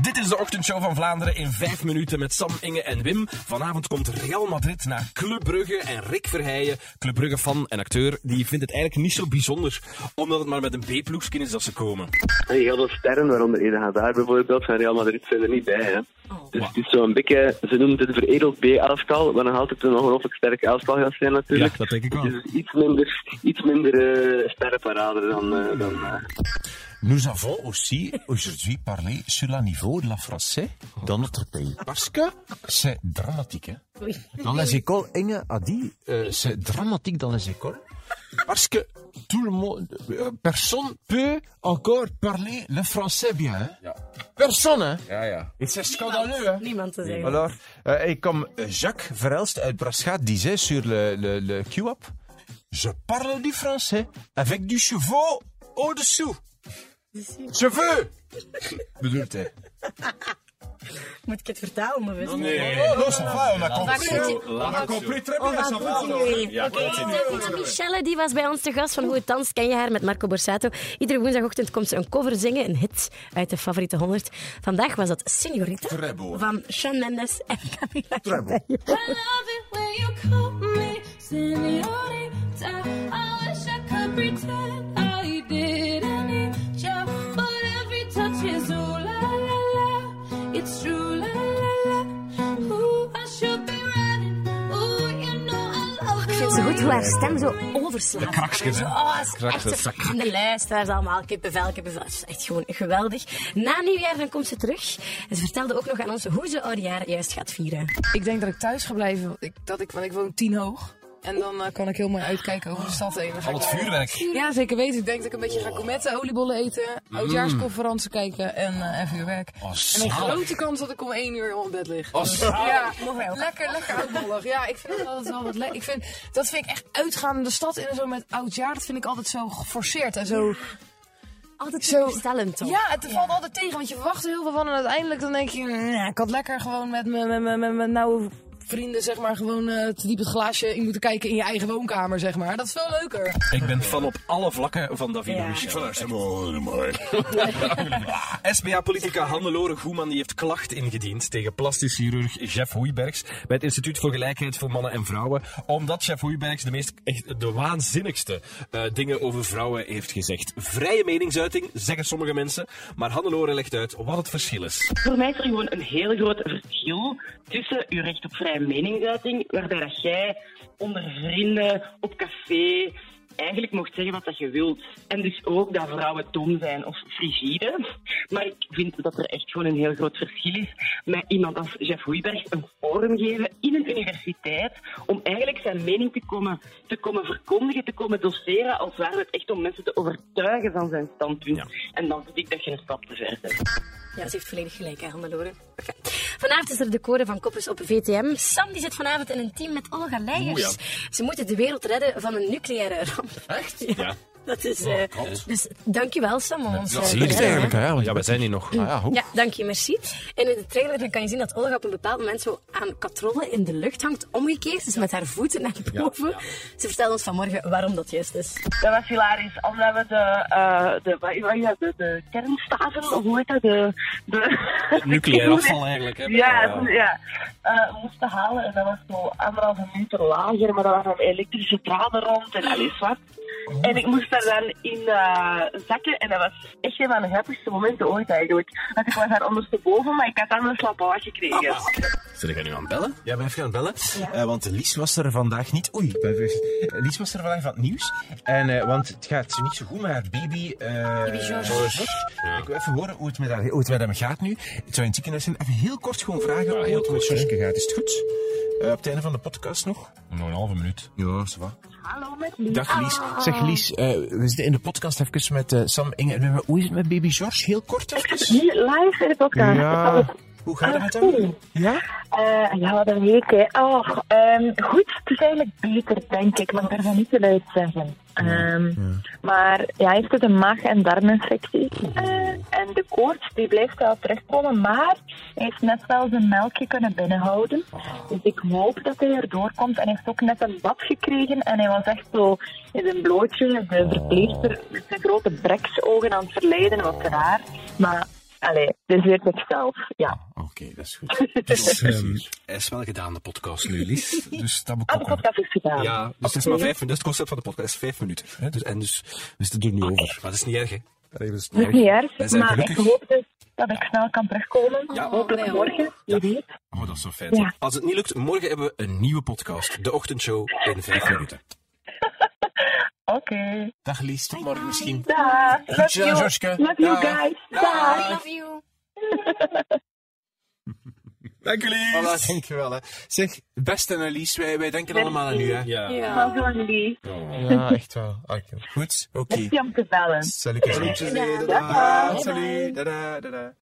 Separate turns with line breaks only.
Dit is de ochtendshow van Vlaanderen in 5 minuten met Sam, Inge en Wim. Vanavond komt Real Madrid naar Club Brugge en Rick Verheijen, Club Brugge fan en acteur, die vindt het eigenlijk niet zo bijzonder, omdat het maar met een B-ploegskin is dat ze komen.
En heel veel sterren, waaronder Eden Hazard bijvoorbeeld, van Real Madrid zijn er niet bij. Hè. Dus het is zo'n beetje, ze noemen het een veredeld B-elftal, wat nog altijd een ongelooflijk sterk elftal gaat zijn natuurlijk.
Ja, dat denk ik wel.
Het is iets minder, iets minder eh, sterrenparade dan... eh, dan eh,
Nous avons aussi aujourd'hui parlé sur le niveau de la français dans notre pays. Parce que c'est dramatique. Hein? Dans les écoles, Inge a dit, euh, c'est dramatique dans les écoles. Parce que tout le monde, euh, personne peut encore parler le français bien. Hein? Personne, hein?
Ja, ja.
Et c'est scandaleux, hein?
Niemand te zeggen.
Alors, euh, et comme euh, Jacques Verelst uit Braschaat disait sur le, le, le Q-Up, je parle du français avec du chevaux au-dessous. Cheveux! Bedoelt hij.
Moet ik het vertalen, mijn beste?
Oh, non, ça va, on a
Lazio,
compris. On a compris très bien, ça va.
Ja,
Oh,
Oké,
Michelle die was bij ons te gast van Hoe het Dans. Ken je haar met Marco Borsato? Iedere woensdagochtend komt ze een cover zingen, een hit uit de favoriete 100. Vandaag was dat Senorita
Trebbo.
van Shawn Mendes en Camila
Trebbo.
Cabello.
I love it when you call me senorita. I wish I could pretend I didn't need ya, but every touch is ooh la la la. It's true la la la. Ooh, I should be running. Ooh, you know I love
Ik
it.
vind ze goed hoe haar stem zo overslaat. De
kraksjes, hè?
Oh, ze is echt
Kraksjes.
zo- en de luisteraars allemaal, kippenvel, kippenvel. Het is echt gewoon geweldig. Na nieuwjaar dan komt ze terug. En ze vertelde ook nog aan ons hoe ze oudejaar juist gaat vieren.
Ik denk dat ik thuis ga blijven, want ik, dat ik, want ik woon tien hoog. En dan eh, kan ik heel mooi uitkijken over de stad heen. Dan ga
Al
ik
het
wel-
vuurwerk.
Ja, zeker weten. Ik denk dat ik een beetje ga kometten, oliebollen eten, oudjaarsconferenties kijken en, eh en vuurwerk.
Oh,
en een grote kans dat ik om één uur al in bed lig. Dus, ja, lekker, lekker oudbollig. Ja, ik vind dat altijd wel wat lekker. Vind, dat vind ik echt uitgaan de stad in en zo met oudjaar. Dat vind ik altijd zo geforceerd en zo...
Altijd
Zo-
zo stellend, toch?
Ja, het valt altijd tegen, want je verwacht er heel veel van. En uiteindelijk dan denk je, "Nee, ik had lekker gewoon met mijn met, mijn- met, mijn nauwe vrienden, zeg maar, gewoon eh, te diep het glaasje in moeten kijken in je eigen woonkamer, zeg maar. Dat is veel leuker.
Ik ben fan op alle vlakken van Davide
Ja.
Michel. SBA-politica Hannelore Goeman die heeft klacht ingediend tegen plastisch chirurg Jeff Hoeibergs bij het Instituut voor Gelijkheid voor Mannen en Vrouwen, omdat Jeff Hoeibergs de meest echt de waanzinnigste eh, dingen over vrouwen heeft gezegd. Vrije meningsuiting, zeggen sommige mensen, maar Hannelore legt uit wat het verschil is.
Voor mij is er gewoon een heel groot verschil tussen je recht op vrije meningsuiting, waarbij dat jij onder vrienden, op café, eigenlijk mocht zeggen wat dat je wilt. En dus ook dat vrouwen dom zijn of frigide. Maar ik vind dat er echt gewoon een heel groot verschil is met iemand als Jeff Hoeiberg een forum geven in een universiteit om eigenlijk zijn mening te komen, te komen verkondigen, te komen doseren, als ware het echt om mensen te overtuigen van zijn standpunt. En dan vind ik dat je een stap te ver bent.
Ja, ze heeft volledig gelijk, hè, Hannelore. Oké. Vanavond is er de koren van koppers op VTM. Sam die zit vanavond in een team met Olga Leijers. Ze moeten de wereld redden van een nucleaire ramp. Echt? Ja. Dat is... eh dus dankjewel, Sam, om ons eh, te redden, hè.
hè? want-
Ja, we zijn hier nog.
Ah, ja, hoe?
Ja, dank je, merci. En in de trailer dan kan je zien dat Olga op een bepaald moment zo aan katrollen in de lucht hangt, omgekeerd, dus met haar voeten naar boven. Ze vertelde ons vanmorgen waarom dat juist is.
Dat was hilarisch, omdat we de, eh de, wat- wat- ja, de, de kernstaven, of hoe heet dat? De, de,
Nucleair afval eigenlijk. Hè?
Ja, ja. Eh, we moesten halen en dat was zo anderhalve meter lager, maar dat was een elektrische draden rond en alles wat. En ik moest daar dan in eh, zakken en dat was echt een van de grappigste momenten ooit eigenlijk. Want ik was daar ondersteboven, maar ik had dan een slappe gekregen.
Zullen we nu aan het bellen?
Ja, wij gaan bellen. Eh, want Lies was er vandaag niet. Oei, ik ben vergeten. Eh, Lies was er vandaag van het nieuws. En, eh, want het gaat niet zo goed met haar baby. eh George. Ik wil even horen hoe het met, haar, hoe het met hem gaat nu. Het zou in het ziekenhuis zijn. Even heel kort gewoon vragen hoe het met George gaat. Is het goed? Eh, op het einde van de podcast nog?
Nog Nou, een halve minuut.
Ja, ça va.
Hallo met Lies.
Dag Lies. Zeg Lies, eh, we zitten in de podcast even met eh, Sam, Inge en Wim. Hoe is het met baby George? Heel kort even.
Hier live in de podcast.
Ja. Hoe
Ah,
gaat het met hem? Ja?
Eh, ja, dat weet ik. hè. Oh, ehm, goed, het is eigenlijk beter, denk ik, maar ik durf dat niet te luid zeggen. Ehm, Maar ja, hij heeft dus een maag- en darminfectie. Eh, en de koorts die blijft wel terugkomen, maar hij heeft net wel zijn melkje kunnen binnenhouden.
Ah.
Dus ik hoop dat hij erdoor komt. En hij heeft ook net een bad gekregen en hij was echt zo in zijn
Ah.
blootje, de verpleegster met zijn grote breksogen aan het verleiden, wat raar. Maar eh, Allee, dus weer mezelf. Ja.
Oké, dat is goed.
Dus, ehm, hij is wel gedaan, de podcast nu, Lies. Dus dat moet
Ah, de
ook wel-
podcast is gedaan.
Ja, dus het is maar vijf minuten. Dat is het concept van de podcast. is vijf minuten. hè. Dus, en dus we zitten er nu over. Maar dat is niet erg, hè? Dat is
Dat is niet erg,
Wij zijn
maar
gelukkig.
ik hoop dus dat ik snel kan terugkomen. Hopelijk morgen, wie weet.
Oh, dat is zo fijn.
Ja.
Als het niet lukt, morgen hebben we een nieuwe podcast. De ochtendshow in vijf minuten.
Oké.
Dag Lies, tot morgen misschien.
Daag. Love
Groetjes aan
you.
Joske.
Love you
Dag.
guys. Daag.
I love you.
Dank jullie!
Voilà, dankjewel. Hè. Zeg, beste Annelies, wij, wij denken allemaal aan u. Hè.
Ja.
Wel zo lief.
Ja, echt wel. Goed, oké.
Merci om te bellen.
Salut, Groetjes.
Ja.
Dada. Salut. Dada, dada.